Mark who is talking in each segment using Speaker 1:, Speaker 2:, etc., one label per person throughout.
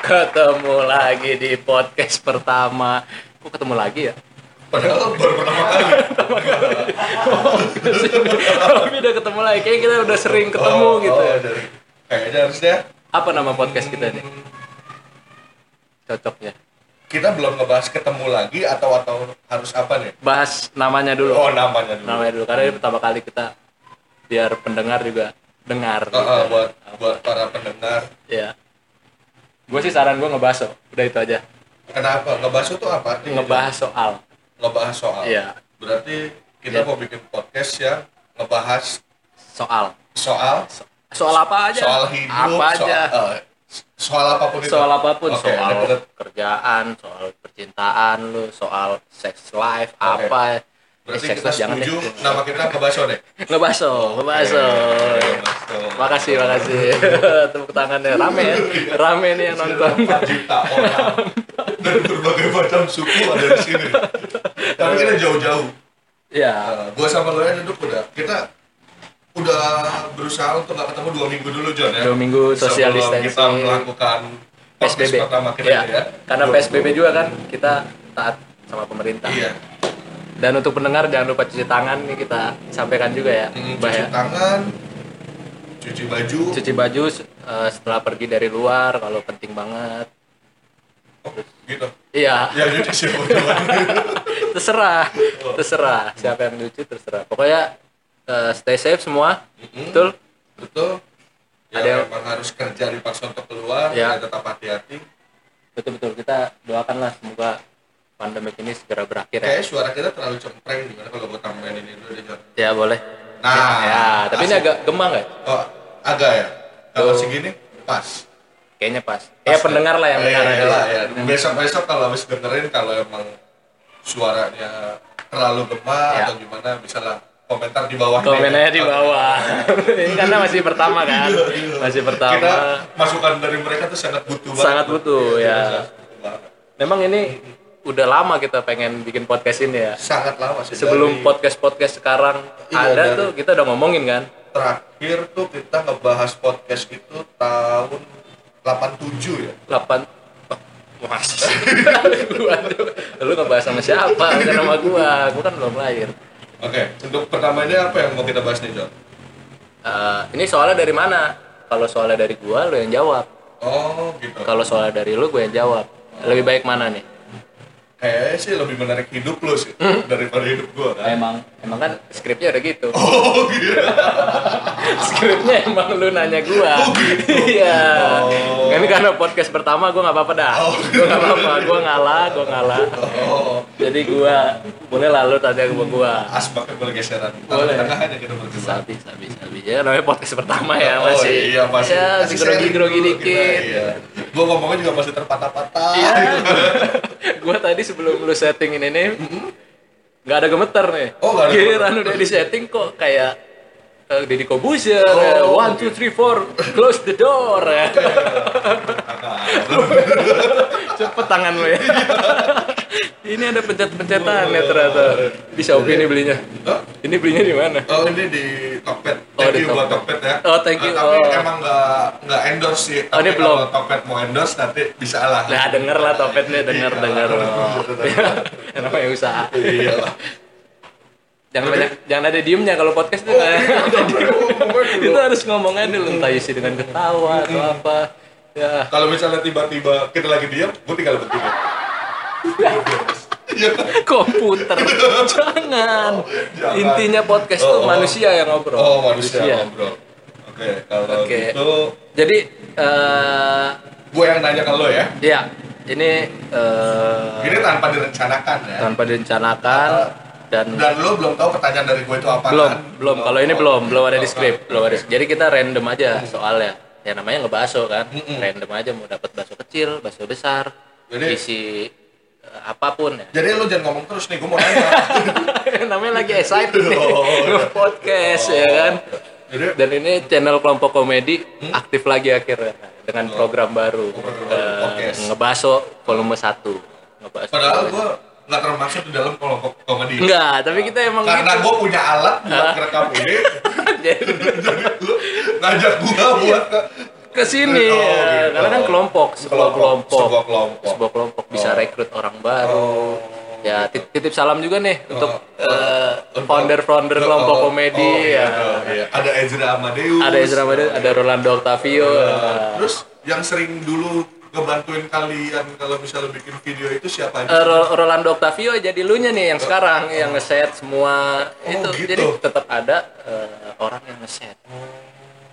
Speaker 1: Ketemu lagi di podcast pertama. Kok ketemu lagi ya?
Speaker 2: Padahal baru pertama kali.
Speaker 1: Tapi udah ketemu lagi. Kayaknya kita udah sering ketemu
Speaker 2: Oh,
Speaker 1: gitu.
Speaker 2: oh, dari- Kayaknya harusnya
Speaker 1: Apa nama podcast kita nih? Cocoknya.
Speaker 2: kita belum ngebahas ketemu lagi atau atau harus apa nih?
Speaker 1: Bahas namanya dulu.
Speaker 2: Oh namanya dulu.
Speaker 1: Namanya dulu. Karena ini pertama kali kita biar pendengar juga dengar.
Speaker 2: Oh,
Speaker 1: gitu.
Speaker 2: oh, buat buat para pendengar.
Speaker 1: Ya. Gue sih saran gue ngebahas so. Udah itu aja.
Speaker 2: Kenapa ngebahas itu apa? artinya?
Speaker 1: Ngebahas soal.
Speaker 2: Ngebahas soal.
Speaker 1: Iya.
Speaker 2: Berarti kita
Speaker 1: Iya.
Speaker 2: mau bikin podcast yang ngebahas
Speaker 1: Soal.
Speaker 2: soal
Speaker 1: Soal apa aja?
Speaker 2: soal hidup,
Speaker 1: Apa
Speaker 2: soal,
Speaker 1: aja?
Speaker 2: eh, soal apapun itu.
Speaker 1: soal apapun
Speaker 2: Oke,
Speaker 1: soal
Speaker 2: ada- ada-
Speaker 1: kerjaan soal percintaan lu soal sex life
Speaker 2: Oke.
Speaker 1: apa ya. Eh,
Speaker 2: Berarti
Speaker 1: sex
Speaker 2: kita
Speaker 1: life jangan
Speaker 2: setuju
Speaker 1: deh.
Speaker 2: nama kita ngebahas soal deh.
Speaker 1: ngebaso ngebaso
Speaker 2: Oke, ngebaso.
Speaker 1: makasih makasih tepuk tangannya rame ya rame nih yang nonton
Speaker 2: 4 juta orang dari berbagai macam suku ada di sini. Tapi kita jauh-jauh.
Speaker 1: ya
Speaker 2: Nah, gua sama lo duduk udah kita udah berusaha untuk gak ketemu dua minggu dulu John ya.
Speaker 1: Dua minggu social
Speaker 2: Sebelum kita
Speaker 1: distancing.
Speaker 2: melakukan podcast
Speaker 1: PSBB
Speaker 2: pertama kita
Speaker 1: ya,
Speaker 2: ya.
Speaker 1: karena
Speaker 2: Dua
Speaker 1: PSBB
Speaker 2: minggu.
Speaker 1: juga kan kita taat sama pemerintah
Speaker 2: Iya.
Speaker 1: dan untuk pendengar jangan lupa cuci tangan nih kita sampaikan juga ya
Speaker 2: Mm,
Speaker 1: Mbah
Speaker 2: Cuci
Speaker 1: ya.
Speaker 2: tangan, cuci baju.
Speaker 1: cuci baju eh, setelah pergi dari luar kalau penting banget
Speaker 2: Oh, gitu.
Speaker 1: iya
Speaker 2: Ya jadi sih udah.
Speaker 1: terserah terserah siapa yang lucu terserah pokoknya eh, stay safe semua betul
Speaker 2: Betul. Ya,
Speaker 1: Ada yang-
Speaker 2: memang harus kerja dipaksa untuk keluar,
Speaker 1: Ya.
Speaker 2: ya. tetap hati-hati.
Speaker 1: betul betul kita doakanlah semoga pandemi ini segera berakhir ya
Speaker 2: Kayaknya suara kita terlalu cempreng gimana kalau gue tambahin ini dulu deh John.
Speaker 1: ya boleh
Speaker 2: Nah,
Speaker 1: ya tapi ini
Speaker 2: asik.
Speaker 1: agak gemang nggak
Speaker 2: Oh, agak ya. Kalau
Speaker 1: Tuh.
Speaker 2: segini pas.
Speaker 1: kayaknya pas ya
Speaker 2: Pas
Speaker 1: pendengar lah yang
Speaker 2: Eh,
Speaker 1: dengar aja.
Speaker 2: lah, ya.
Speaker 1: Yang-
Speaker 2: Besok-besok kalau habis dengerin kalau emang suaranya terlalu gemar
Speaker 1: Ya.
Speaker 2: atau gimana bisa lah komentar di bawah.
Speaker 1: komennya
Speaker 2: ini.
Speaker 1: di bawah Ini karena masih pertama kan masih
Speaker 2: Kita
Speaker 1: pertama
Speaker 2: masukan dari mereka tuh sangat butuh banget.
Speaker 1: Sangat butuh,
Speaker 2: Iya,
Speaker 1: ya.
Speaker 2: sangat butuh banget.
Speaker 1: memang ini udah lama kita pengen bikin podcast ini ya
Speaker 2: Sangat lama sih.
Speaker 1: sebelum
Speaker 2: Dari
Speaker 1: podcast-podcast sekarang
Speaker 2: Iya,
Speaker 1: ada
Speaker 2: dari-
Speaker 1: tuh kita udah ngomongin kan
Speaker 2: terakhir tuh kita ngebahas podcast itu tahun 87 ya.
Speaker 1: 8 oh, Mas. Waduh, lu ngebahas sama siapa? Bukan sama gua. Gua kan belum lahir.
Speaker 2: Oke, untuk pertama ini apa yang mau kita bahas nih, John?
Speaker 1: Eh, ini soalnya dari mana? Kalau soalnya dari gua lu yang jawab.
Speaker 2: Oh, gitu.
Speaker 1: Kalau soalnya dari lu gua yang jawab. Lebih baik mana nih?
Speaker 2: Kayaknya sih lebih menarik hidup lo sih
Speaker 1: Hmm.
Speaker 2: daripada hidup gua kan.
Speaker 1: Emang emang kan skripnya udah gitu.
Speaker 2: Oh, gitu.
Speaker 1: Skripnya emang lu nanya gua. Iya.
Speaker 2: gitu. Oh.
Speaker 1: Ini karena podcast pertama gua nggak apa-apa dah.
Speaker 2: Oh.
Speaker 1: Gua nggak apa-apa, gua ngalah, gua ngalah.
Speaker 2: Oh,
Speaker 1: Jadi gua boleh lalu tanya gua gua.
Speaker 2: asbaknya bergeseran.
Speaker 1: Boleh.
Speaker 2: Boleh. Tengah aja kita bergeser.
Speaker 1: Sabi, sabi, sabi. Ya namanya podcast pertama ya
Speaker 2: Oh,
Speaker 1: masih.
Speaker 2: iya, masih.
Speaker 1: Ya,
Speaker 2: masih sharing
Speaker 1: grogi-grogi
Speaker 2: dulu kita,
Speaker 1: dikit.
Speaker 2: Iya. Gua ngomongnya juga masih terpatah-patah. Gitu.
Speaker 1: Iya. gua tadi sebelum lu setting ini nih, nggak ada gemeter nih.
Speaker 2: Oh, nggak ada
Speaker 1: Giliran udah di setting kok kayak eh, Deddy Kobusier,
Speaker 2: Oh,
Speaker 1: eh,
Speaker 2: oke.
Speaker 1: one, two, three, four, close the door. Cepet tangan lu ya. ini ada pencet-pencetan ya ternyata. Di Shopee ini belinya.
Speaker 2: Hah?
Speaker 1: Ini belinya di mana?
Speaker 2: Oh ini di Tokped.
Speaker 1: Oh, di
Speaker 2: Thank you buat
Speaker 1: Tokped.
Speaker 2: Tokped ya.
Speaker 1: Oh, thank you.
Speaker 2: Nah, tapi
Speaker 1: Oh.
Speaker 2: emang nggak nggak endorse sih.
Speaker 1: Oh, ini
Speaker 2: Tapi
Speaker 1: belum.
Speaker 2: Kalau Tokped mau endorse nanti bisa lah.
Speaker 1: Nah, denger lah topet nih, denger,
Speaker 2: Iya.
Speaker 1: denger. Oh. namanya usaha.
Speaker 2: Iya lah.
Speaker 1: Jangan banyak, jangan ada diemnya kalau podcast
Speaker 2: Oh,
Speaker 1: tuh.
Speaker 2: iya.
Speaker 1: nggak- itu harus ngomongnya dulu entah isi dengan ketawa atau
Speaker 2: Hmm.
Speaker 1: apa ya
Speaker 2: Kalau misalnya tiba-tiba kita lagi diam, gue tinggal bertiga. Iya kan?
Speaker 1: komputer jangan.
Speaker 2: Jangan.
Speaker 1: intinya podcast
Speaker 2: Oh,
Speaker 1: tuh
Speaker 2: oh.
Speaker 1: manusia yang ngobrol
Speaker 2: Oh manusia ngobrol. Oke, kalau
Speaker 1: Oke.
Speaker 2: gitu
Speaker 1: jadi eh
Speaker 2: gue yang nanya ke lo ya.
Speaker 1: ya ini eh,
Speaker 2: Ini tanpa direncanakan ya.
Speaker 1: tanpa direncanakan dan
Speaker 2: Dan lo belum tahu pertanyaan dari gue itu apa
Speaker 1: belum
Speaker 2: kan?
Speaker 1: belum kalau ini belum belum ada di
Speaker 2: Belum,
Speaker 1: skrip belum ada jadi kita random aja soalnya ya namanya ngebaso kan
Speaker 2: Mm-mm.
Speaker 1: random aja mau dapat bakso kecil bakso besar
Speaker 2: Jadi-
Speaker 1: isi eh, apapun ya
Speaker 2: Jadi lo jangan ngomong terus nih, gue mau nanya.
Speaker 1: namanya lagi excited nih
Speaker 2: Oh.
Speaker 1: podcast ya kan
Speaker 2: Jadi
Speaker 1: dan ini channel kelompok komedi aktif lagi akhirnya dengan program baru
Speaker 2: Hmm? Oh. program
Speaker 1: Eh,
Speaker 2: baru, podcast.
Speaker 1: ngebaso volume 1 ngebaso
Speaker 2: Padahal gue nggak termasuk di dalam kelompok komedi.
Speaker 1: enggak tapi kita emang
Speaker 2: Karena
Speaker 1: gitu
Speaker 2: gue punya alat buat rekam ini,
Speaker 1: Jadi,
Speaker 2: jadi lu ngajak gue buat ke
Speaker 1: Iya. ke sini ya.
Speaker 2: Oh, gitu.
Speaker 1: karena kan kelompok, sebuah kelompok,
Speaker 2: sebuah kelompok.
Speaker 1: sebuah kelompok bisa rekrut orang baru.
Speaker 2: Oh.
Speaker 1: Ya tit- titip salam juga nih untuk
Speaker 2: Oh,
Speaker 1: eh, founder-founder kelompok
Speaker 2: Oh,
Speaker 1: komedi.
Speaker 2: oh, iya,
Speaker 1: ya.
Speaker 2: oh, iya. Ada Ezra Amadeus.
Speaker 1: Ada Ezra Madan, ada Rolando Octavio.
Speaker 2: Nah, Terus yang sering dulu ngebantuin kalian kalau misalnya bikin video itu
Speaker 1: Eh,
Speaker 2: siapa aja?
Speaker 1: Ro- Rolando Octavio jadi lu nih yang sekarang yang ngeset semua itu
Speaker 2: gitu.
Speaker 1: jadi tetap ada eh, orang yang ngeset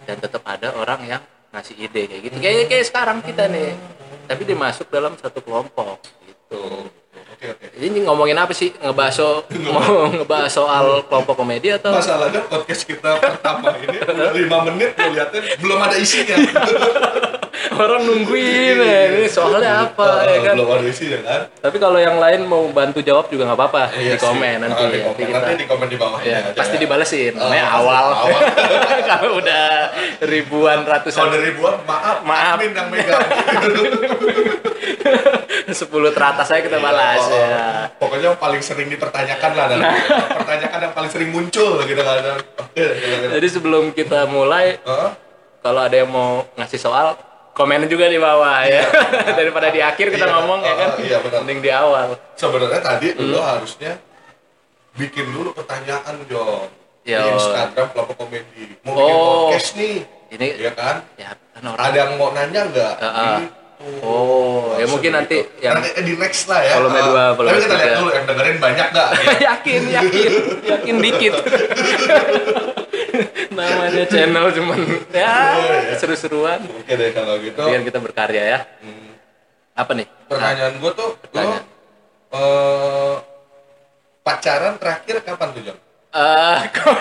Speaker 1: dan tetap ada orang yang ngasih ide kayak gitu kayak kayak sekarang kita nih tapi dimasuk dalam satu kelompok gitu
Speaker 2: Oke oke.
Speaker 1: ini ngomongin apa sih ngebahas so- mau ngebahas soal kelompok komedi atau
Speaker 2: Masalahnya podcast kita pertama ini udah 5 menit lu liatin belum ada isinya.
Speaker 1: orang nungguin ya, ini
Speaker 2: Iya.
Speaker 1: soalnya apa ya kan
Speaker 2: Eh, Belum ada isinya kan?
Speaker 1: tapi kalau yang lain mau bantu jawab juga nggak apa-apa
Speaker 2: Iya
Speaker 1: di
Speaker 2: sih.
Speaker 1: komen nanti ya,
Speaker 2: Ah, di
Speaker 1: nanti
Speaker 2: komen.
Speaker 1: kita
Speaker 2: Nanti di komen di bawahnya.
Speaker 1: Ya,
Speaker 2: aja
Speaker 1: pasti
Speaker 2: ya.
Speaker 1: dibalesin. Namanya
Speaker 2: Ah,
Speaker 1: awal.
Speaker 2: awal.
Speaker 1: Kalau udah ribuan
Speaker 2: Kalau
Speaker 1: ratusan
Speaker 2: dari ribuan maaf,
Speaker 1: Maaf.
Speaker 2: admin yang megang.
Speaker 1: sepuluh teratas saya kita balas
Speaker 2: Oh,
Speaker 1: ya. Nah.
Speaker 2: Pokoknya yang paling sering dipertanyakan lah dan pertanyaan yang paling sering muncul gitu kan. Oke, gitu kan.
Speaker 1: Jadi sebelum kita mulai,
Speaker 2: Heeh.
Speaker 1: kalau ada yang mau ngasih soal, komen juga di bawah ya. Daripada di akhir kita
Speaker 2: Iya,
Speaker 1: ngomong ya
Speaker 2: oh,
Speaker 1: kan,
Speaker 2: iya, benar.
Speaker 1: mending di awal.
Speaker 2: Sebenarnya tadi
Speaker 1: Hmm.
Speaker 2: lo harusnya bikin dulu pertanyaan dong
Speaker 1: Yo.
Speaker 2: di Instagram kelompok komedi. Mau bikin
Speaker 1: Oh.
Speaker 2: podcast nih,
Speaker 1: Ini
Speaker 2: ya kan?
Speaker 1: ya kan orang.
Speaker 2: Ada yang mau nanya nggak?
Speaker 1: Heeh.
Speaker 2: Gitu.
Speaker 1: Oh, ya mungkin nanti
Speaker 2: Gitu.
Speaker 1: yang
Speaker 2: Nanti di next lah ya.
Speaker 1: Volume
Speaker 2: Ah,
Speaker 1: dua, volume
Speaker 2: Tapi kita lihat
Speaker 1: tiga.
Speaker 2: dulu yang dengerin banyak nggak?
Speaker 1: yakin, yakin, yakin dikit. Namanya channel cuman ya seru-seruan.
Speaker 2: Oke deh Iya. kalau Hmm. gitu.
Speaker 1: Biar kita berkarya ya. Apa nih?
Speaker 2: Pertanyaan gue tuh, lo
Speaker 1: Ah, Pertanyaan.
Speaker 2: eh, pacaran terakhir kapan tuh Jong?
Speaker 1: Eh, kok,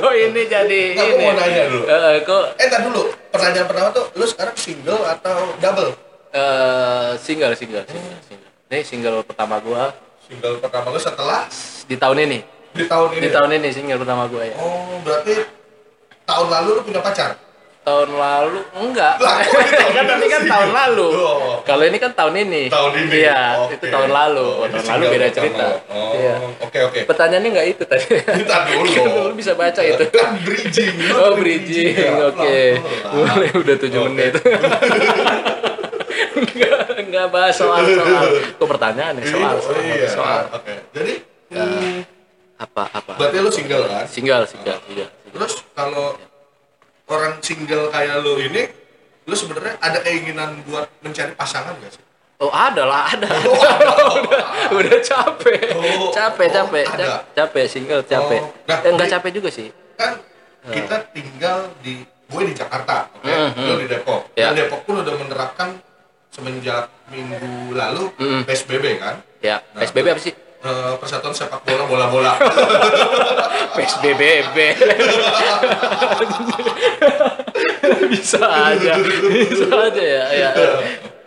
Speaker 1: kok ini jadi
Speaker 2: Nggak, gua
Speaker 1: ini?
Speaker 2: mau nanya dulu.
Speaker 1: Eh, eh, kok
Speaker 2: Eh, tar dulu. Pertanyaan pertama tuh, lu sekarang single atau double?
Speaker 1: eh, single, single, single, single. Ini single pertama gua
Speaker 2: Single pertama lu setelah
Speaker 1: di tahun ini.
Speaker 2: di tahun ini.
Speaker 1: Di tahun ini single pertama gua ya.
Speaker 2: Oh, berarti tahun lalu lu punya pacar?
Speaker 1: Tahun lalu enggak.
Speaker 2: Lah, kok di tahun
Speaker 1: kan ini kan
Speaker 2: lalu
Speaker 1: tahun
Speaker 2: single?
Speaker 1: lalu.
Speaker 2: Oh.
Speaker 1: Kalau ini kan tahun ini.
Speaker 2: Tahun ini.
Speaker 1: Iya,
Speaker 2: Oke.
Speaker 1: itu tahun lalu. Oh,
Speaker 2: Oh,
Speaker 1: tahun
Speaker 2: ini
Speaker 1: lalu
Speaker 2: single
Speaker 1: beda
Speaker 2: pertama.
Speaker 1: cerita.
Speaker 2: Oh,
Speaker 1: Iya.
Speaker 2: oke oke.
Speaker 1: Pertanyaannya enggak itu tadi.
Speaker 2: Kita dulu.
Speaker 1: Kan lu bisa baca itu.
Speaker 2: Kan bridging. lu
Speaker 1: Oh
Speaker 2: kan
Speaker 1: bridging,
Speaker 2: ya.
Speaker 1: oke.
Speaker 2: Pelan-pelan.
Speaker 1: Mulai udah 7
Speaker 2: nah, Oke.
Speaker 1: menit. Enggak, enggak bahas soal soal. Kok pertanyaan ya soal soal,
Speaker 2: Iya,
Speaker 1: soal.
Speaker 2: Oke. Jadi, hmm,
Speaker 1: apa apa?
Speaker 2: berarti lu single kan?
Speaker 1: Single, single, iya. single.
Speaker 2: Terus kalau orang single kayak lu ini, lu sebenarnya ada keinginan buat mencari pasangan gak sih?
Speaker 1: Oh ada lah, ada.
Speaker 2: Oh,
Speaker 1: udah, udah capek,
Speaker 2: Oh,
Speaker 1: capek,
Speaker 2: oh,
Speaker 1: capek,
Speaker 2: ada.
Speaker 1: Cap- capek, single, capek.
Speaker 2: Oh, nah,
Speaker 1: eh, enggak
Speaker 2: di-
Speaker 1: capek juga sih.
Speaker 2: Kan kita tinggal di gue di Jakarta, oke?
Speaker 1: Mhm.
Speaker 2: Lu di Depok.
Speaker 1: Ya.
Speaker 2: Nah, Depok pun udah menerapkan semenjak minggu lalu
Speaker 1: Mhm.
Speaker 2: PSBB kan?
Speaker 1: Ya,
Speaker 2: Nah,
Speaker 1: PSBB apa sih?
Speaker 2: Eh, Persatuan sepak bola bola-bola.
Speaker 1: Oh, PSBB. bisa aja, bisa aja ya. ya.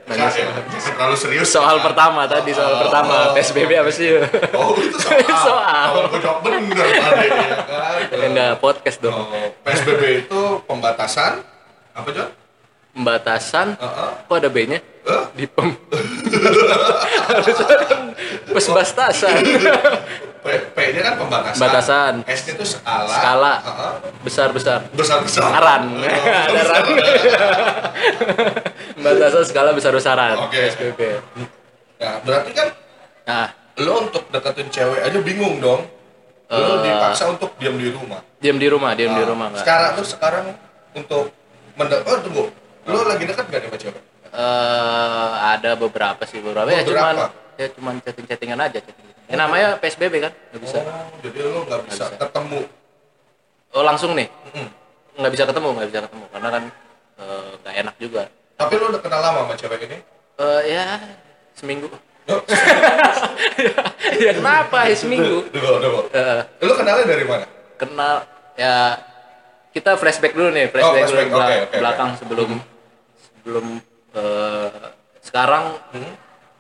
Speaker 2: Jangan jangan terlalu serius.
Speaker 1: Soal pertama tadi, soal pertama PSBB apa sih?
Speaker 2: Oh, itu soal.
Speaker 1: Soal.
Speaker 2: Kalau gue jawab bener tadi, ya kan?
Speaker 1: Enggak podcast dong.
Speaker 2: Oh, PSBB itu pembatasan apa John?
Speaker 1: Pembatasan.
Speaker 2: Heeh.
Speaker 1: Kok ada B-nya?
Speaker 2: Eh?
Speaker 1: Di pem. Harusnya kan pesbastasan.
Speaker 2: P- P-nya kan pembatasan.
Speaker 1: Batasan.
Speaker 2: S-nya itu skala.
Speaker 1: Skala.
Speaker 2: Heeh. Oh, iya.
Speaker 1: besar besar.
Speaker 2: besar besar.
Speaker 1: Aran. ada ran. Pembatasan skala besar besaran.
Speaker 2: Oke.
Speaker 1: PSBB.
Speaker 2: Nah, berarti kan
Speaker 1: Nah,
Speaker 2: lo untuk deketin cewek aja bingung dong. Lo dipaksa untuk diam di rumah.
Speaker 1: diam di rumah, Eh. diam di
Speaker 2: Nah,
Speaker 1: rumah Eh, enggak.
Speaker 2: Sekarang lo sekarang untuk mende oh tunggu. Lo lagi deket gak nih sama cewek?
Speaker 1: Eh ada beberapa sih beberapa. Ya
Speaker 2: Beberapa?
Speaker 1: cuman ya cuman chatting-chattingan aja chatting. Ya, namanya PSBB kan? Nggak bisa.
Speaker 2: Oh, jadi lo nggak bisa,
Speaker 1: bisa.
Speaker 2: ketemu.
Speaker 1: Oh, langsung nih.
Speaker 2: Mm.
Speaker 1: Nggak bisa ketemu, nggak bisa ketemu karena kan eh, nggak enak juga.
Speaker 2: Tapi lo udah kenal lama sama cewek ini?
Speaker 1: Eh ya seminggu.
Speaker 2: Oh,
Speaker 1: ya kenapa ya seminggu?
Speaker 2: Tunggu, tunggu.
Speaker 1: Eh,
Speaker 2: Lo kenalnya dari mana?
Speaker 1: kenal ya kita flashback dulu nih flashback,
Speaker 2: Oh, flashback,
Speaker 1: dulu
Speaker 2: oke,
Speaker 1: belak-
Speaker 2: oke, Mm-hmm. oke.
Speaker 1: belakang sebelum sebelum eh, sekarang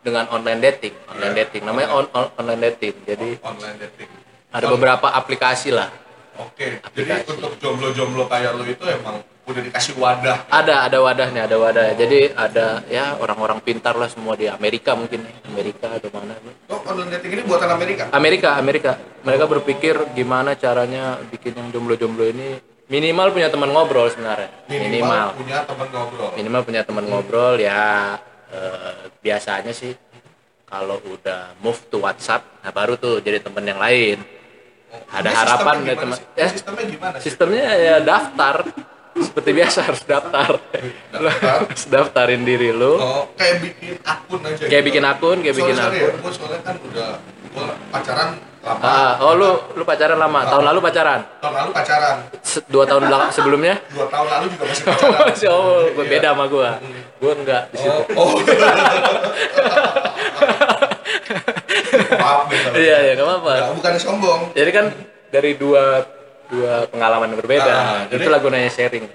Speaker 1: dengan online dating online
Speaker 2: Mm-hmm. Iya,
Speaker 1: dating namanya on- on- online dating jadi
Speaker 2: Online dating.
Speaker 1: ada beberapa aplikasi lah
Speaker 2: Oke, jadi untuk jomblo-jomblo kayak lo itu emang udah dikasih wadah.
Speaker 1: ada ada wadahnya ada
Speaker 2: Oh.
Speaker 1: wadah jadi ada ya orang-orang pintar lah semua di Amerika mungkin ya. Amerika atau mana
Speaker 2: Oh, online dating ini buatan Amerika?
Speaker 1: Amerika Amerika mereka berpikir gimana caranya bikin yang jomblo-jomblo ini minimal punya teman ngobrol sebenarnya
Speaker 2: minimal,
Speaker 1: minimal
Speaker 2: punya teman ngobrol
Speaker 1: minimal punya teman ngobrol ya eh, biasanya sih kalau udah move to WhatsApp nah baru tuh jadi temen yang lain ada
Speaker 2: Oh, Ini
Speaker 1: harapan
Speaker 2: sistemnya
Speaker 1: dari
Speaker 2: gimana
Speaker 1: teman-
Speaker 2: sih?
Speaker 1: Eh?
Speaker 2: sistemnya gimana sih
Speaker 1: sistemnya ya daftar seperti biasa harus daftar Lo
Speaker 2: Daftar.
Speaker 1: harus daftarin diri lu
Speaker 2: Oh, kayak bikin akun aja gitu.
Speaker 1: kayak bikin akun kayak bikin
Speaker 2: soalnya,
Speaker 1: akun
Speaker 2: ya, gue soalnya kan udah gue pacaran lama
Speaker 1: Ah, oh lu lu pacaran lama tahun lalu pacaran
Speaker 2: tahun lalu pacaran
Speaker 1: Se- dua tahun belakang sebelumnya
Speaker 2: dua tahun lalu juga masih pacaran
Speaker 1: masih oh gue beda sama gua gua enggak di situ
Speaker 2: oh, oh. maaf nih kalau-
Speaker 1: iya iya nggak apa-apa
Speaker 2: Nggak, bukan sombong
Speaker 1: jadi kan dari dua dua pengalaman yang berbeda
Speaker 2: Ah, jadi-
Speaker 1: itulah gunanya sharing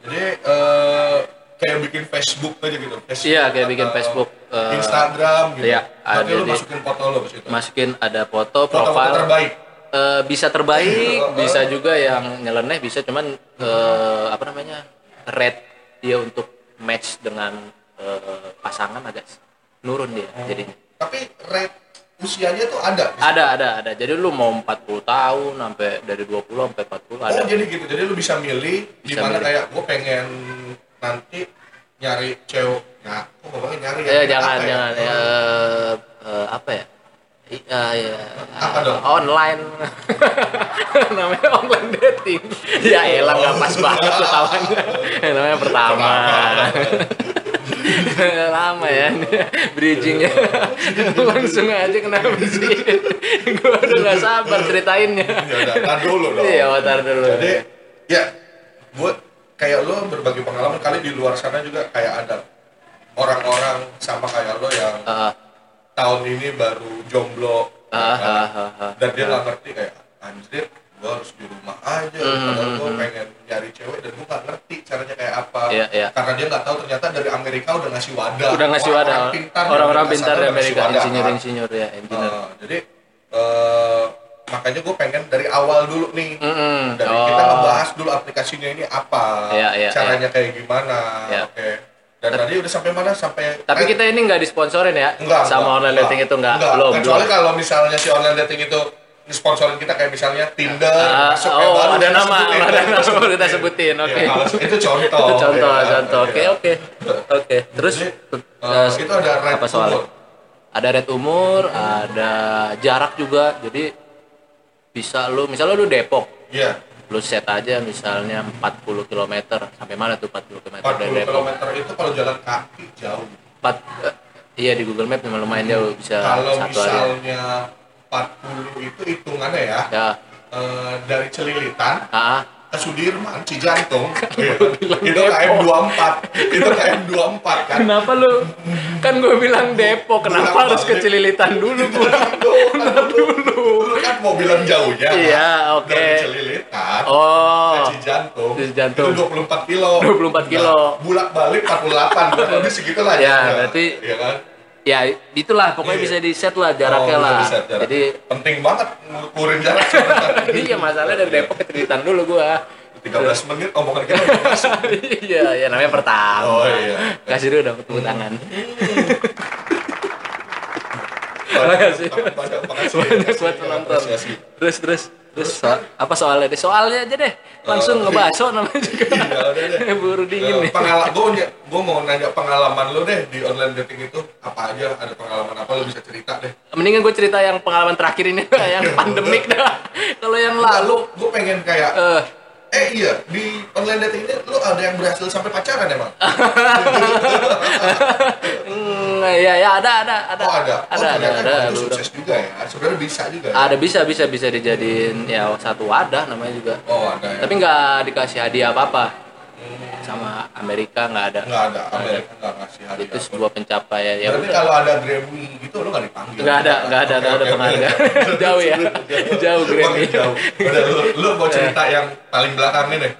Speaker 2: jadi eh, kayak bikin Facebook aja gitu Facebook
Speaker 1: Iya, kayak bikin
Speaker 2: atau
Speaker 1: Facebook, eh,
Speaker 2: Instagram gitu
Speaker 1: iya,
Speaker 2: tapi
Speaker 1: ada
Speaker 2: lu
Speaker 1: di-
Speaker 2: masukin foto lo ke situ
Speaker 1: masukin ada foto
Speaker 2: foto foto
Speaker 1: profil
Speaker 2: terbaik
Speaker 1: Eh, bisa
Speaker 2: Oh, oh.
Speaker 1: terbaik bisa juga yang nyeleneh bisa cuman eh, apa namanya rate dia untuk match dengan eh, pasangan agak nurun dia jadinya
Speaker 2: tapi rate usianya tuh ada
Speaker 1: ada ada ada jadi lu mau 40 tahun sampai dari 20 sampai 40 ada
Speaker 2: Oh jadi gitu, jadi lu bisa milih di
Speaker 1: Bisa
Speaker 2: mana
Speaker 1: milih.
Speaker 2: kayak gue pengen nanti nyari cewek. Nah, kok ngomongnya nyari
Speaker 1: Eh,
Speaker 2: ya?
Speaker 1: jangan,
Speaker 2: Apa ya?
Speaker 1: jangan.
Speaker 2: Eh,
Speaker 1: Eh, eh, apa ya? I- eh, ya,
Speaker 2: Apa dong?
Speaker 1: Online. namanya online dating. ya elah nggak pas
Speaker 2: Oh.
Speaker 1: banget ketawanya. namanya pertama. lama ya bridgingnya langsung aja kenapa sih gue udah gak sabar ceritainnya
Speaker 2: Ya udah, tar dulu dong.
Speaker 1: iya watar dulu
Speaker 2: Jadi ya gue kayak lu berbagi pengalaman kali di luar sana juga kayak ada orang-orang sama kayak lo yang
Speaker 1: Ah,
Speaker 2: tahun ini baru jomblo
Speaker 1: ah, ah, ah, ah.
Speaker 2: dan dia nggak ngerti kayak anjir gue harus di rumah aja
Speaker 1: Hmm,
Speaker 2: padahal gue pengen nyari cewek dan gue nggak ngerti caranya kayak apa
Speaker 1: Iya, iya.
Speaker 2: karena dia nggak tahu ternyata dari Amerika udah ngasih wadah
Speaker 1: udah ngasih wadah orang-orang pintar di Amerika
Speaker 2: insinyur
Speaker 1: insinyur-insinyur ya engineer
Speaker 2: Ah, jadi eh, makanya gue pengen dari awal dulu nih
Speaker 1: Mm-mm.
Speaker 2: dari
Speaker 1: Oh.
Speaker 2: kita ngebahas dulu aplikasinya ini apa
Speaker 1: Iya, iya,
Speaker 2: caranya kayak gimana
Speaker 1: Iya.
Speaker 2: oke dan tadi udah sampai mana sampai eh,
Speaker 1: Tapi kita ini nggak disponsorin ya
Speaker 2: Enggak.
Speaker 1: sama online dating itu nggak belum.
Speaker 2: Kecuali
Speaker 1: belum.
Speaker 2: kalau misalnya si online dating itu sponsorin kita kayak misalnya Tinder,
Speaker 1: Ah,
Speaker 2: masuk
Speaker 1: oh,
Speaker 2: kayak baru
Speaker 1: ada
Speaker 2: kita
Speaker 1: nama,
Speaker 2: sebutin,
Speaker 1: ada
Speaker 2: kita
Speaker 1: nama,
Speaker 2: sebutin.
Speaker 1: kita sebutin,
Speaker 2: Iya,
Speaker 1: oke.
Speaker 2: kalau- itu contoh.
Speaker 1: Itu contoh,
Speaker 2: ya,
Speaker 1: contoh.
Speaker 2: iya.
Speaker 1: Oke, oke. Oke. Terus
Speaker 2: Jadi,
Speaker 1: eh,
Speaker 2: eh, itu ada red
Speaker 1: apa soalnya?
Speaker 2: umur.
Speaker 1: Ada red umur, ada jarak juga. Jadi bisa lu misalnya lu Depok,
Speaker 2: Iya,
Speaker 1: lu set aja misalnya 40 km. Sampai mana tuh 40 km dari
Speaker 2: 40
Speaker 1: Depok?
Speaker 2: km itu kalau jalan kaki jauh.
Speaker 1: Empat, eh, iya di Google Map memang lumayan jauh bisa
Speaker 2: Hmm. Kalau
Speaker 1: Eh, satu hari.
Speaker 2: misalnya 40 itu hitungannya ya,
Speaker 1: Ya.
Speaker 2: eh, dari
Speaker 1: Ah,
Speaker 2: Celilitan
Speaker 1: ah.
Speaker 2: ke Sudirman, Cijantung, iya.
Speaker 1: bilang
Speaker 2: itu
Speaker 1: Depok.
Speaker 2: KM 24, itu KM 24 kan.
Speaker 1: Kenapa lu? Kan gue bilang Depok, kenapa
Speaker 2: Pulang
Speaker 1: harus
Speaker 2: balik.
Speaker 1: kecilitan dulu pulang?
Speaker 2: Dulu,
Speaker 1: dulu.
Speaker 2: dulu kan mobilan jauhnya.
Speaker 1: Iya, oke.
Speaker 2: Dari Celilitan ke
Speaker 1: Oh,
Speaker 2: Cijantung.
Speaker 1: Ke Cijantung.
Speaker 2: Itu 24 kilo.
Speaker 1: 24 kilo.
Speaker 2: Nah, bulak-balik 48, kurang lebih segitu lah.
Speaker 1: Iya,
Speaker 2: ya.
Speaker 1: berarti-
Speaker 2: Iya kan?
Speaker 1: ya itulah pokoknya
Speaker 2: Iya.
Speaker 1: bisa di set lah jaraknya
Speaker 2: Oh,
Speaker 1: lah.
Speaker 2: bisa jarak.
Speaker 1: Jadi
Speaker 2: penting banget ngukurin jarak sebenarnya.
Speaker 1: iya masalah dari Depok ke Cililitan dulu gua.
Speaker 2: 13 Iya. menit omongan kita udah masuk.
Speaker 1: iya, ya namanya pertama.
Speaker 2: Oh iya.
Speaker 1: Kasih dulu dong tepuk tangan.
Speaker 2: Banyak
Speaker 1: Makasih.
Speaker 2: banyak makasih.
Speaker 1: Banyak buat penonton.
Speaker 2: Apresiasi.
Speaker 1: Terus terus terus so- apa soalnya deh? Soalnya aja deh. Langsung
Speaker 2: Oh.
Speaker 1: ngebaso namanya juga.
Speaker 2: Iya, udah deh. Eh,
Speaker 1: Buru dingin nih.
Speaker 2: pengalaman gue gue mau nanya pengalaman lo deh di online dating itu apa aja ada pengalaman apa lo bisa cerita deh
Speaker 1: Mendingan gue cerita yang pengalaman terakhir ini yang pandemik dah. Kalau yang lalu
Speaker 2: gue pengen kayak
Speaker 1: eh
Speaker 2: eh iya di online dating ini lo ada yang berhasil sampai pacaran emang
Speaker 1: Hmm, ya ya ada ada ada.
Speaker 2: oh ada oh,
Speaker 1: Ada ada
Speaker 2: ternyata
Speaker 1: ada.
Speaker 2: emang itu
Speaker 1: ada,
Speaker 2: sukses juga ya sebenarnya bisa juga ya?
Speaker 1: Ada, bisa bisa bisa dijadiin ya satu wadah namanya juga.
Speaker 2: oh ada ya
Speaker 1: Tapi nggak dikasih hadiah apa-apa sama Amerika nggak ada.
Speaker 2: nggak ada Amerika nggak ngasih hadiah
Speaker 1: Itu sebuah pencapaian ya.
Speaker 2: berarti kalau ada Grammy gitu lo nggak dipanggil
Speaker 1: Nggak ada, nggak ada, nggak
Speaker 2: Oke,
Speaker 1: ada
Speaker 2: oke, oke.
Speaker 1: penghargaan. Jauh ya, jauh Grammy. Eh.
Speaker 2: Makin jauh udah lo lo mau cerita yang paling belakangnya deh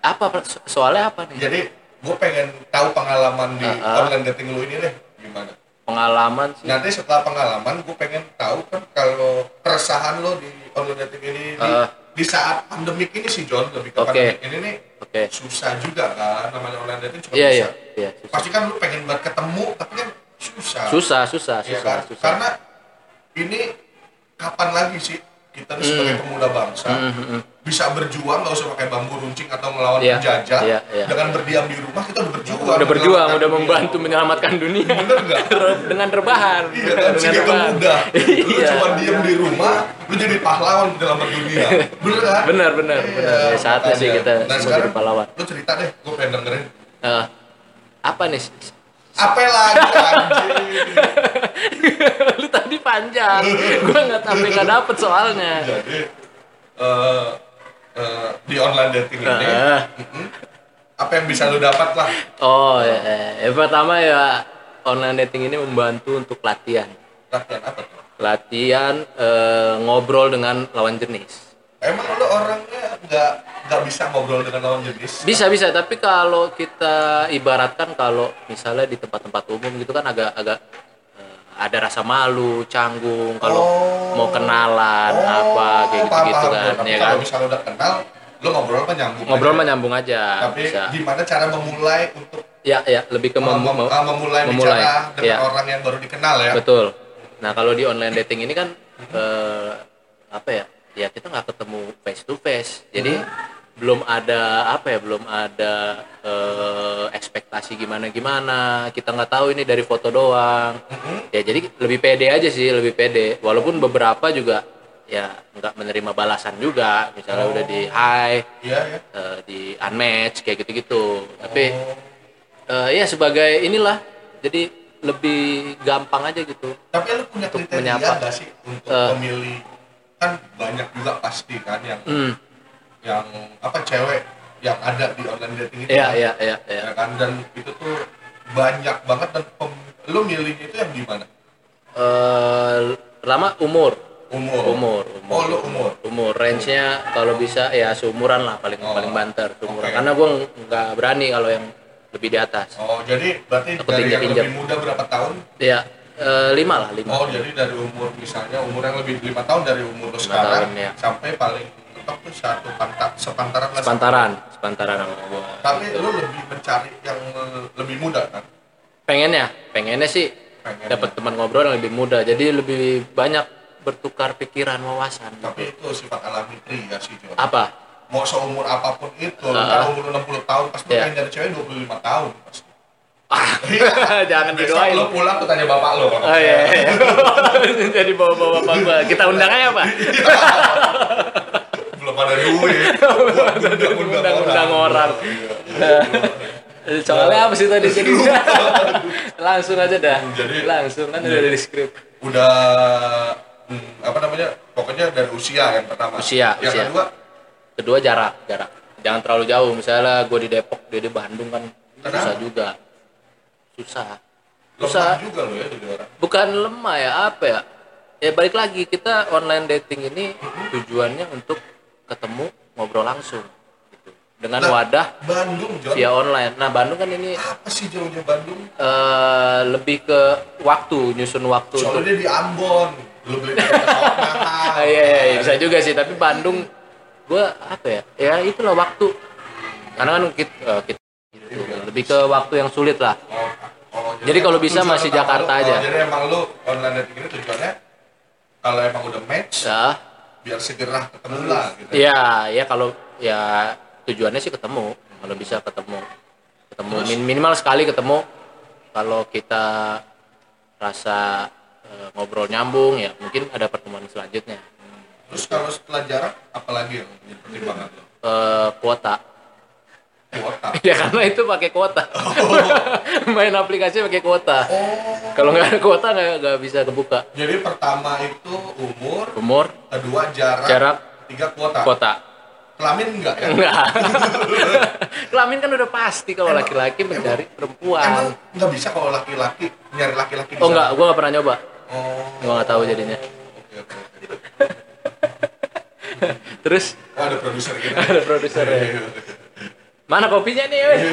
Speaker 1: Apa so- soalnya apa nih?
Speaker 2: jadi gue pengen tahu pengalaman di
Speaker 1: Ah, ah.
Speaker 2: online dating lo ini deh gimana
Speaker 1: Pengalaman sih.
Speaker 2: nanti setelah pengalaman gue pengen tahu kan kalau keresahan lo di online dating ini di,
Speaker 1: Ah.
Speaker 2: di saat pandemik ini sih John lebih ke
Speaker 1: Oke.
Speaker 2: pandemik ini nih
Speaker 1: Oke.
Speaker 2: susah juga kan namanya online dating cuma
Speaker 1: Iya iya
Speaker 2: susah.
Speaker 1: iya. susah.
Speaker 2: pasti kan lo pengen banget ketemu tapi kan susah
Speaker 1: Susah susah
Speaker 2: Iya
Speaker 1: susah
Speaker 2: kan?
Speaker 1: susah.
Speaker 2: karena ini kapan lagi sih kita
Speaker 1: Hmm.
Speaker 2: nih sebagai pemuda bangsa
Speaker 1: Mhm.
Speaker 2: bisa berjuang nggak usah pakai bambu runcing atau melawan
Speaker 1: Iya,
Speaker 2: penjajah
Speaker 1: iya, iya.
Speaker 2: dengan berdiam di rumah kita udah berjuang
Speaker 1: udah berjuang udah
Speaker 2: menyelamatkan dunia.
Speaker 1: membantu menyelamatkan dunia
Speaker 2: kan bener nggak
Speaker 1: Ter- dengan rebahan
Speaker 2: iya dan
Speaker 1: dengan
Speaker 2: segitu mudah lu
Speaker 1: iya
Speaker 2: cuma diem di rumah lu jadi pahlawan dalam berdunia bener kan
Speaker 1: bener bener bener
Speaker 2: Iya,
Speaker 1: Ya, saatnya sih
Speaker 2: makanya.
Speaker 1: kita
Speaker 2: nah,
Speaker 1: semua
Speaker 2: sekarang
Speaker 1: jadi pahlawan
Speaker 2: lu cerita deh gue pengen dengerin
Speaker 1: Eh, apa nih Sis?
Speaker 2: apa lagi anjing
Speaker 1: lu tadi panjang gua nggak sampai nggak dapet soalnya
Speaker 2: jadi eh, eh, di online dating ini
Speaker 1: Heeh.
Speaker 2: mm-mm, apa yang bisa lu dapat lah
Speaker 1: oh ya, ya. yang pertama ya online dating ini membantu untuk latihan
Speaker 2: latihan ya, apa tuh
Speaker 1: latihan eh, ngobrol dengan lawan jenis
Speaker 2: emang lu orangnya nggak nggak bisa ngobrol dengan lawan jenis
Speaker 1: bisa bisa tapi kalau kita ibaratkan kalau misalnya di tempat-tempat umum gitu kan agak agak eh, ada rasa malu canggung kalau
Speaker 2: Oh.
Speaker 1: mau kenalan apa kayak gitu gitu
Speaker 2: paham,
Speaker 1: kan
Speaker 2: paham.
Speaker 1: ya kan
Speaker 2: kalau misalnya udah kenal lu ngobrol apa nyambung
Speaker 1: ngobrol
Speaker 2: aja.
Speaker 1: mah nyambung aja
Speaker 2: tapi
Speaker 1: bisa
Speaker 2: gimana cara memulai untuk
Speaker 1: ya ya lebih ke mem-
Speaker 2: mem-
Speaker 1: mem-
Speaker 2: ah, memulai,
Speaker 1: memulai,
Speaker 2: bicara dengan
Speaker 1: iya.
Speaker 2: orang yang baru dikenal ya
Speaker 1: Betul. Nah kalau di online dating ini kan eh, apa ya? Ya kita nggak ketemu face to face. Jadi belum ada apa ya? Belum ada eh, ekspektasi gimana gimana. Kita nggak tahu ini dari foto doang. Ya jadi lebih pede aja sih, lebih pede. Walaupun beberapa juga ya nggak menerima balasan juga. Misalnya udah di hi,
Speaker 2: iya ya
Speaker 1: eh, di unmatch kayak gitu-gitu. Tapi eh, ya sebagai inilah. Jadi lebih gampang aja gitu.
Speaker 2: tapi lu punya
Speaker 1: Untuk
Speaker 2: kriteria
Speaker 1: menyapa.
Speaker 2: nggak sih untuk
Speaker 1: Eh.
Speaker 2: memilih kan banyak juga pasti kan yang
Speaker 1: Hmm.
Speaker 2: yang apa cewek yang ada di online dating itu
Speaker 1: Iya,
Speaker 2: kan?
Speaker 1: iya, iya, iya.
Speaker 2: Ya kan dan itu tuh banyak banget dan pem- lu milih itu yang gimana
Speaker 1: Eh, lama umur,
Speaker 2: umur
Speaker 1: umur,
Speaker 2: oh
Speaker 1: umur.
Speaker 2: lu umur
Speaker 1: Umur range-nya kalau bisa ya seumuran lah paling
Speaker 2: Oh.
Speaker 1: paling banter seumuran.
Speaker 2: Oke.
Speaker 1: Karena gua nggak berani kalau yang lebih di atas.
Speaker 2: oh jadi berarti
Speaker 1: Aku
Speaker 2: dari yang
Speaker 1: pinjam-pinjam.
Speaker 2: lebih muda berapa tahun
Speaker 1: Ya, eh, lima lah, lima.
Speaker 2: oh jadi dari umur misalnya umur yang lebih lima tahun dari umur lu
Speaker 1: Lima
Speaker 2: sekarang
Speaker 1: tahun, ya.
Speaker 2: sampai paling mentok tuh satu pantat sepantaran lah
Speaker 1: Sepantaran, sepantaran sama gua.
Speaker 2: tapi lu lebih mencari yang lebih muda kan
Speaker 1: Pengennya, pengennya sih
Speaker 2: Pengennya.
Speaker 1: dapat teman ngobrol yang lebih muda. Jadi lebih banyak bertukar pikiran, wawasan.
Speaker 2: tapi itu sifat alami pria sih Jon.
Speaker 1: Apa?
Speaker 2: mau seumur apapun itu lu
Speaker 1: Ah.
Speaker 2: kan umur 60 tahun pasti
Speaker 1: Iya.
Speaker 2: pengen dari cewek 25 tahun pasti
Speaker 1: Ah, jangan
Speaker 2: Besok
Speaker 1: didoain.
Speaker 2: lu pulang tuh tanya bapak lo
Speaker 1: Oh iya, iya. jadi bawa-bawa bapak gua. Kita undang aja pak.
Speaker 2: belum ada duit Buat
Speaker 1: Undang-undang orang.
Speaker 2: Iya.
Speaker 1: Soalnya apa sih tadi jadi langsung aja dah.
Speaker 2: Jadi-
Speaker 1: langsung kan udah dari skrip.
Speaker 2: udah hmm, apa namanya pokoknya dari usia yang pertama
Speaker 1: Usia,
Speaker 2: yang
Speaker 1: usia.
Speaker 2: kedua
Speaker 1: Kedua jarak, jarak. Jangan terlalu jauh. Misalnya gua di Depok, dia di Bandung kan
Speaker 2: Kenapa?
Speaker 1: susah juga. Susah. Susah.
Speaker 2: lemah juga lo ya jadi orang
Speaker 1: Bukan lemah ya apa ya? Ya balik lagi kita online dating ini tujuannya untuk ketemu ngobrol langsung. Gitu. Dengan
Speaker 2: Nah,
Speaker 1: wadah
Speaker 2: Bandung Jon
Speaker 1: via online. Nah Bandung kan ini
Speaker 2: apa sih jauhnya Bandung
Speaker 1: eh, lebih ke waktu nyusun waktu untuk
Speaker 2: soalnya dia di Ambon lu beli dari pesawat mahal.
Speaker 1: Ah, iya, iya, iya, bisa juga sih tapi Bandung gue apa ya ya itulah waktu karena kan kita, eh, kita lebih ke waktu yang sulit lah
Speaker 2: Oh, oh,
Speaker 1: Jadi kalau
Speaker 2: emang
Speaker 1: bisa
Speaker 2: tujuan
Speaker 1: masih
Speaker 2: utama
Speaker 1: Jakarta
Speaker 2: lu-
Speaker 1: aja.
Speaker 2: oh, jadi emang lu online dating ini tujuannya kalau emang udah match
Speaker 1: ya
Speaker 2: biar segera ketemu lah gitu.
Speaker 1: ya ya kalau ya tujuannya sih ketemu kalau bisa ketemu ketemu min- minimal sekali ketemu kalau kita rasa eh, ngobrol nyambung ya mungkin ada pertemuan selanjutnya
Speaker 2: Terus kalau setelah jarak apalagi yang menjadi pertimbangan lu?
Speaker 1: Eh, kuota
Speaker 2: Kuota.
Speaker 1: ya karena itu pakai kuota main aplikasi pakai kuota
Speaker 2: Oh.
Speaker 1: Kalau nggak ada kuota nggak nggak bisa kebuka.
Speaker 2: Jadi pertama itu umur,
Speaker 1: Umur,
Speaker 2: kedua jarak,
Speaker 1: Jarak.
Speaker 2: tiga kuota.
Speaker 1: kuota.
Speaker 2: Kelamin enggak ya?
Speaker 1: Nggak. Kelamin kan udah pasti kalau laki-laki mencari
Speaker 2: Emang
Speaker 1: perempuan.
Speaker 2: nggak bisa kalau laki-laki nyari laki-laki di
Speaker 1: Oh
Speaker 2: sana?
Speaker 1: nggak, gua nggak pernah nyoba.
Speaker 2: Oh.
Speaker 1: Gua nggak tahu jadinya.
Speaker 2: Oke, oke, oke.
Speaker 1: Terus
Speaker 2: Oh, ada produser kita.
Speaker 1: ada produser ya. Mana kopinya nih? weh?"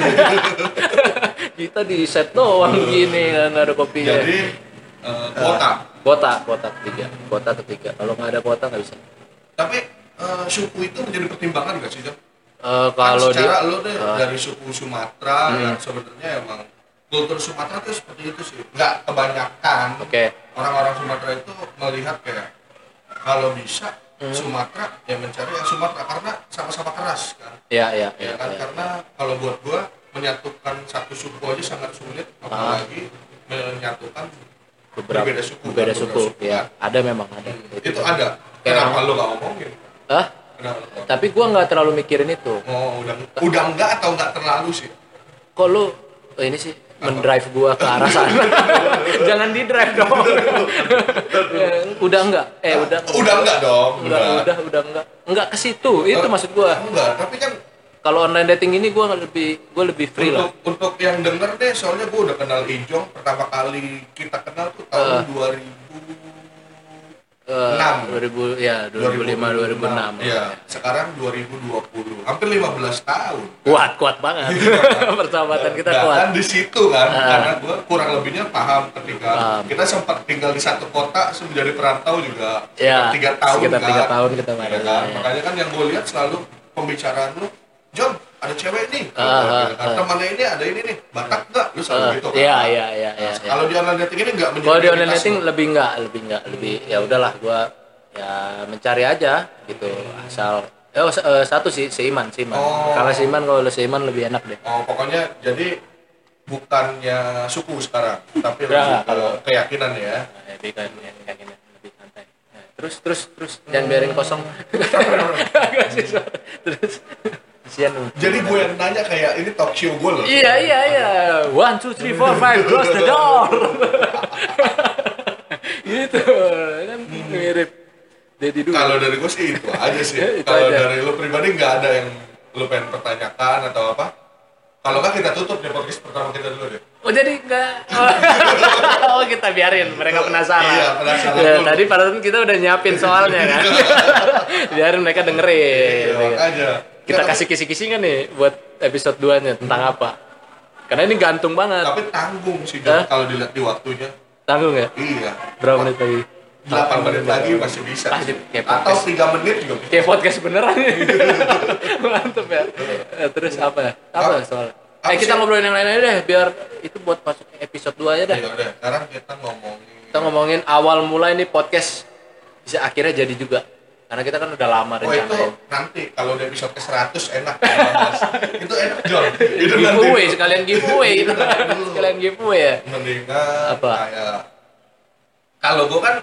Speaker 1: Kita di set doang gini kan nggak ada kopinya.
Speaker 2: Jadi eh, kuota.
Speaker 1: Kuota, kuota ketiga, kuota ketiga. Kalau nggak ada kuota nggak bisa.
Speaker 2: Tapi eh, suku itu menjadi pertimbangan nggak sih,
Speaker 1: Eh,
Speaker 2: Jam? Kan
Speaker 1: kalau Ah. Hmm. di
Speaker 2: secara lo deh dari suku Sumatera yang sebenarnya emang kultur Sumatera tuh seperti itu sih. Nggak kebanyakan
Speaker 1: Oke.
Speaker 2: orang-orang Sumatera itu melihat kayak kalau bisa
Speaker 1: Hmm.
Speaker 2: Sumatera ya mencari yang Sumatera karena sama-sama keras kan
Speaker 1: Iya, iya, iya.
Speaker 2: ya kan
Speaker 1: iya.
Speaker 2: karena kalau buat gua menyatukan satu suku aja sangat sulit apalagi menyatukan
Speaker 1: Beberapa
Speaker 2: berbeda suku,
Speaker 1: berbeda
Speaker 2: kan,
Speaker 1: suku,
Speaker 2: berbeda suku,
Speaker 1: ya. Ada memang ada.
Speaker 2: itu ada
Speaker 1: Kayak
Speaker 2: kenapa lo gak ngomongin
Speaker 1: Hah?
Speaker 2: kenapa lo gak
Speaker 1: Tapi gua nggak terlalu mikirin itu.
Speaker 2: oh udah udah enggak atau enggak terlalu sih
Speaker 1: Kok lu oh, ini sih mendrive gua ke arah sana. Jangan di drive dong. Ya, udah enggak? Eh, udah
Speaker 2: udah enggak Oh. dong
Speaker 1: udah udah udah enggak. Enggak ke situ. Itu maksud gua.
Speaker 2: enggak tapi kan
Speaker 1: Kalau online dating ini gua lebih gua lebih free
Speaker 2: untuk
Speaker 1: lah.
Speaker 2: untuk yang denger deh soalnya gua udah kenal Ijong pertama kali kita kenal tuh
Speaker 1: Ah.
Speaker 2: tahun 2000
Speaker 1: Eh,
Speaker 2: Enam.
Speaker 1: 2000 ya 2005 2006.
Speaker 2: Iya, sekarang 2020 hampir 15 tahun
Speaker 1: Kuat, kuat banget.
Speaker 2: Iya,
Speaker 1: Persahabatan kita
Speaker 2: Nah,
Speaker 1: kuat. Ah.
Speaker 2: kan di situ kan karena gue kurang lebihnya paham ketika kita sempat tinggal di satu kota terus menjadi perantau juga
Speaker 1: Ya,
Speaker 2: tiga tahun
Speaker 1: sekitar
Speaker 2: kan.
Speaker 1: tiga tahun kita
Speaker 2: Iya
Speaker 1: bareng,
Speaker 2: kan?
Speaker 1: ya.
Speaker 2: makanya kan yang gue lihat selalu pembicaraan lu Jom, ada cewek nih
Speaker 1: Ah, ah,
Speaker 2: Gitu, kan. temannya ini ada ini nih batak nggak lu selalu
Speaker 1: Eh,
Speaker 2: gitu kan
Speaker 1: Iya, iya, iya,
Speaker 2: Nah,
Speaker 1: iya. iya.
Speaker 2: kalau di online dating ini nggak menjadi
Speaker 1: Kalau di online
Speaker 2: prioritas
Speaker 1: dating
Speaker 2: lu.
Speaker 1: lebih enggak, lebih enggak, lebih ya udahlah gua ya mencari aja gitu asal eh, oh, se- eh, satu sih seiman seiman.
Speaker 2: Iya. Oh.
Speaker 1: Kalau seiman kalau udah seiman lebih enak deh.
Speaker 2: oh pokoknya jadi bukannya suku sekarang tapi
Speaker 1: Ya,
Speaker 2: lebih ke keyakinan ya
Speaker 1: Lebih kan kayak gini lebih santai. Nah, Terus terus terus jangan biarin kosong. terus kasihan lu.
Speaker 2: jadi gue yang nanya kayak ini talk show gue loh
Speaker 1: Iya iya iya. One two three four five close the door. gitu kan mirip Dedi dulu.
Speaker 2: Kalau dari gue sih itu aja sih.
Speaker 1: Ya, Itu
Speaker 2: Kalau
Speaker 1: aja.
Speaker 2: dari lu pribadi nggak ada yang lu pengen pertanyakan atau apa? Kalau nggak kita tutup deh podcast pertama kita dulu deh.
Speaker 1: Oh jadi enggak Oh kita biarin mereka penasaran.
Speaker 2: Iya, penasaran
Speaker 1: Ya,
Speaker 2: dulu.
Speaker 1: tadi padahal kita udah nyiapin soalnya kan. biarin mereka dengerin.
Speaker 2: Ya,
Speaker 1: Iya,
Speaker 2: aja.
Speaker 1: Kita
Speaker 2: Ya,
Speaker 1: kasih kisi-kisi kan nih buat episode 2-nya tentang apa? Karena ini gantung
Speaker 2: Tapi,
Speaker 1: banget.
Speaker 2: tapi tanggung sih
Speaker 1: Hah?
Speaker 2: Jon, kalau dilihat di waktunya.
Speaker 1: Tanggung ya?
Speaker 2: Iya.
Speaker 1: Berapa menit lagi?
Speaker 2: 8 menit lagi masih bisa.
Speaker 1: Pasti kayak
Speaker 2: Atau 3 menit juga bisa.
Speaker 1: Kayak podcast beneran ya. Mantep ya. Eh, Terus apa? Apa
Speaker 2: Apa-
Speaker 1: soalnya?
Speaker 2: apa
Speaker 1: Eh kita
Speaker 2: sih?
Speaker 1: ngobrolin yang lain aja deh biar itu buat masuk ke episode 2 aja deh.
Speaker 2: Ya udah, sekarang kita ngomongin
Speaker 1: kita ngomongin awal mulai nih podcast bisa akhirnya jadi juga karena kita kan udah lama
Speaker 2: Oh itu
Speaker 1: rencanain
Speaker 2: nanti kalau udah episode ke 100 enak kalau bahas. itu enak John itu nanti
Speaker 1: giveaway sekalian giveaway
Speaker 2: Iya.
Speaker 1: gitu
Speaker 2: Dulu.
Speaker 1: sekalian giveaway ya
Speaker 2: mendingan
Speaker 1: Apa?
Speaker 2: kayak kalau gue kan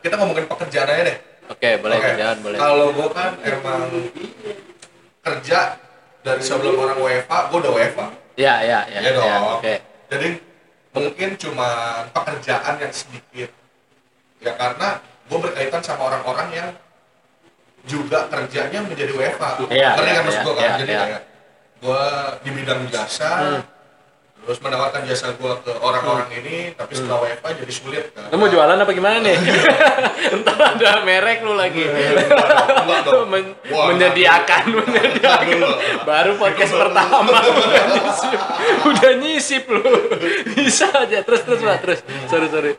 Speaker 2: kita ngomongin pekerjaan aja deh
Speaker 1: oke boleh
Speaker 2: Oke.
Speaker 1: jangan boleh
Speaker 2: Kalau gue kan emang kerja dari sebelum orang WFA, gue udah WFA.
Speaker 1: ya ya ya,
Speaker 2: Ya,
Speaker 1: ya,
Speaker 2: dong.
Speaker 1: oke
Speaker 2: Jadi mungkin cuma pekerjaan yang sedikit. Ya karena gue berkaitan sama orang-orang yang juga kerjanya menjadi WFA.
Speaker 1: Iya,
Speaker 2: Ngerti
Speaker 1: iya,
Speaker 2: kan maksud
Speaker 1: iya,
Speaker 2: gue kan?
Speaker 1: iya,
Speaker 2: Jadi
Speaker 1: iya. Hmm.
Speaker 2: kayak gue di bidang jasa, terus menawarkan jasa gue ke orang-orang ini, tapi setelah WFA jadi sulit kan?
Speaker 1: lu mau jualan apa gimana nih entar ada merek lu lagi
Speaker 2: Enggak dong.
Speaker 1: Men-
Speaker 2: Wah,
Speaker 1: menyediakan menyediakan
Speaker 2: Dulu.
Speaker 1: baru podcast
Speaker 2: Dulu.
Speaker 1: pertama udah nyisip udah nyisip lu bisa aja terus terus Pak, terus sorry sorry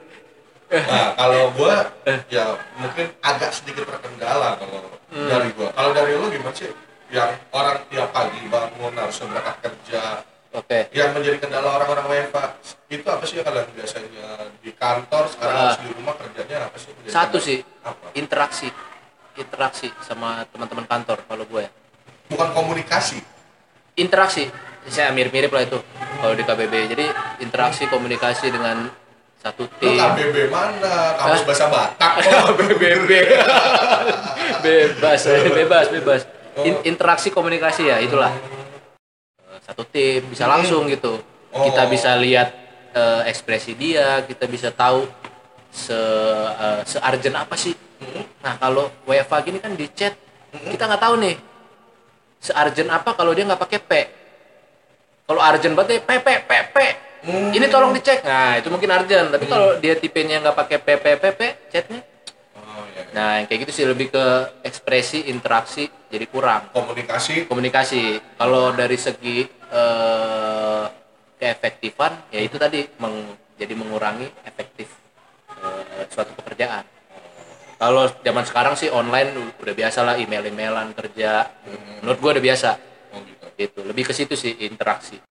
Speaker 2: Nah, kalau gua ya mungkin agak sedikit terkendala kalau
Speaker 1: Hmm.
Speaker 2: dari gua. Kalau dari lu gimana sih? Yang orang tiap pagi bangun harus berangkat kerja.
Speaker 1: oke
Speaker 2: Yang menjadi kendala orang-orang WFA itu apa sih yang kalian biasanya di kantor sekarang
Speaker 1: Ah.
Speaker 2: harus di rumah kerjanya apa sih? yang menjadi
Speaker 1: satu
Speaker 2: kendala?
Speaker 1: sih
Speaker 2: Apa?
Speaker 1: interaksi interaksi sama teman-teman kantor kalau gue ya
Speaker 2: Bukan komunikasi.
Speaker 1: interaksi saya mirip-mirip lah itu kalau di KBB jadi interaksi komunikasi dengan satu
Speaker 2: Lu
Speaker 1: tim
Speaker 2: KBB mana?
Speaker 1: Iya. Hah?
Speaker 2: Kampus bahasa Batak.
Speaker 1: KBB bebas eh, bebas bebas In-
Speaker 2: Oh.
Speaker 1: interaksi komunikasi ya itulah Eh, satu tim bisa langsung gitu kita
Speaker 2: Hmm. Oh.
Speaker 1: bisa lihat eh, ekspresi dia kita bisa tahu se eh, se urgent apa sih
Speaker 2: Hmm.
Speaker 1: nah kalau WFA gini kan di chat kita nggak tahu nih se urgent apa kalau dia nggak pakai P kalau urgent berarti P P P P
Speaker 2: Hmm.
Speaker 1: ini tolong dicek nah itu mungkin urgent tapi kalau dia tipenya nggak pakai P P P P chatnya
Speaker 2: Oh, iya, iya.
Speaker 1: Nah, yang kayak gitu sih lebih ke ekspresi, interaksi jadi kurang.
Speaker 2: Komunikasi
Speaker 1: Komunikasi. Kalau dari segi eh, keefektifan, ya itu tadi meng- jadi mengurangi efektif eh, suatu pekerjaan. Kalau zaman sekarang sih online udah biasa lah email-emailan kerja. Menurut gua udah biasa.
Speaker 2: oh, gitu.
Speaker 1: Gitu. Lebih ke situ sih interaksi.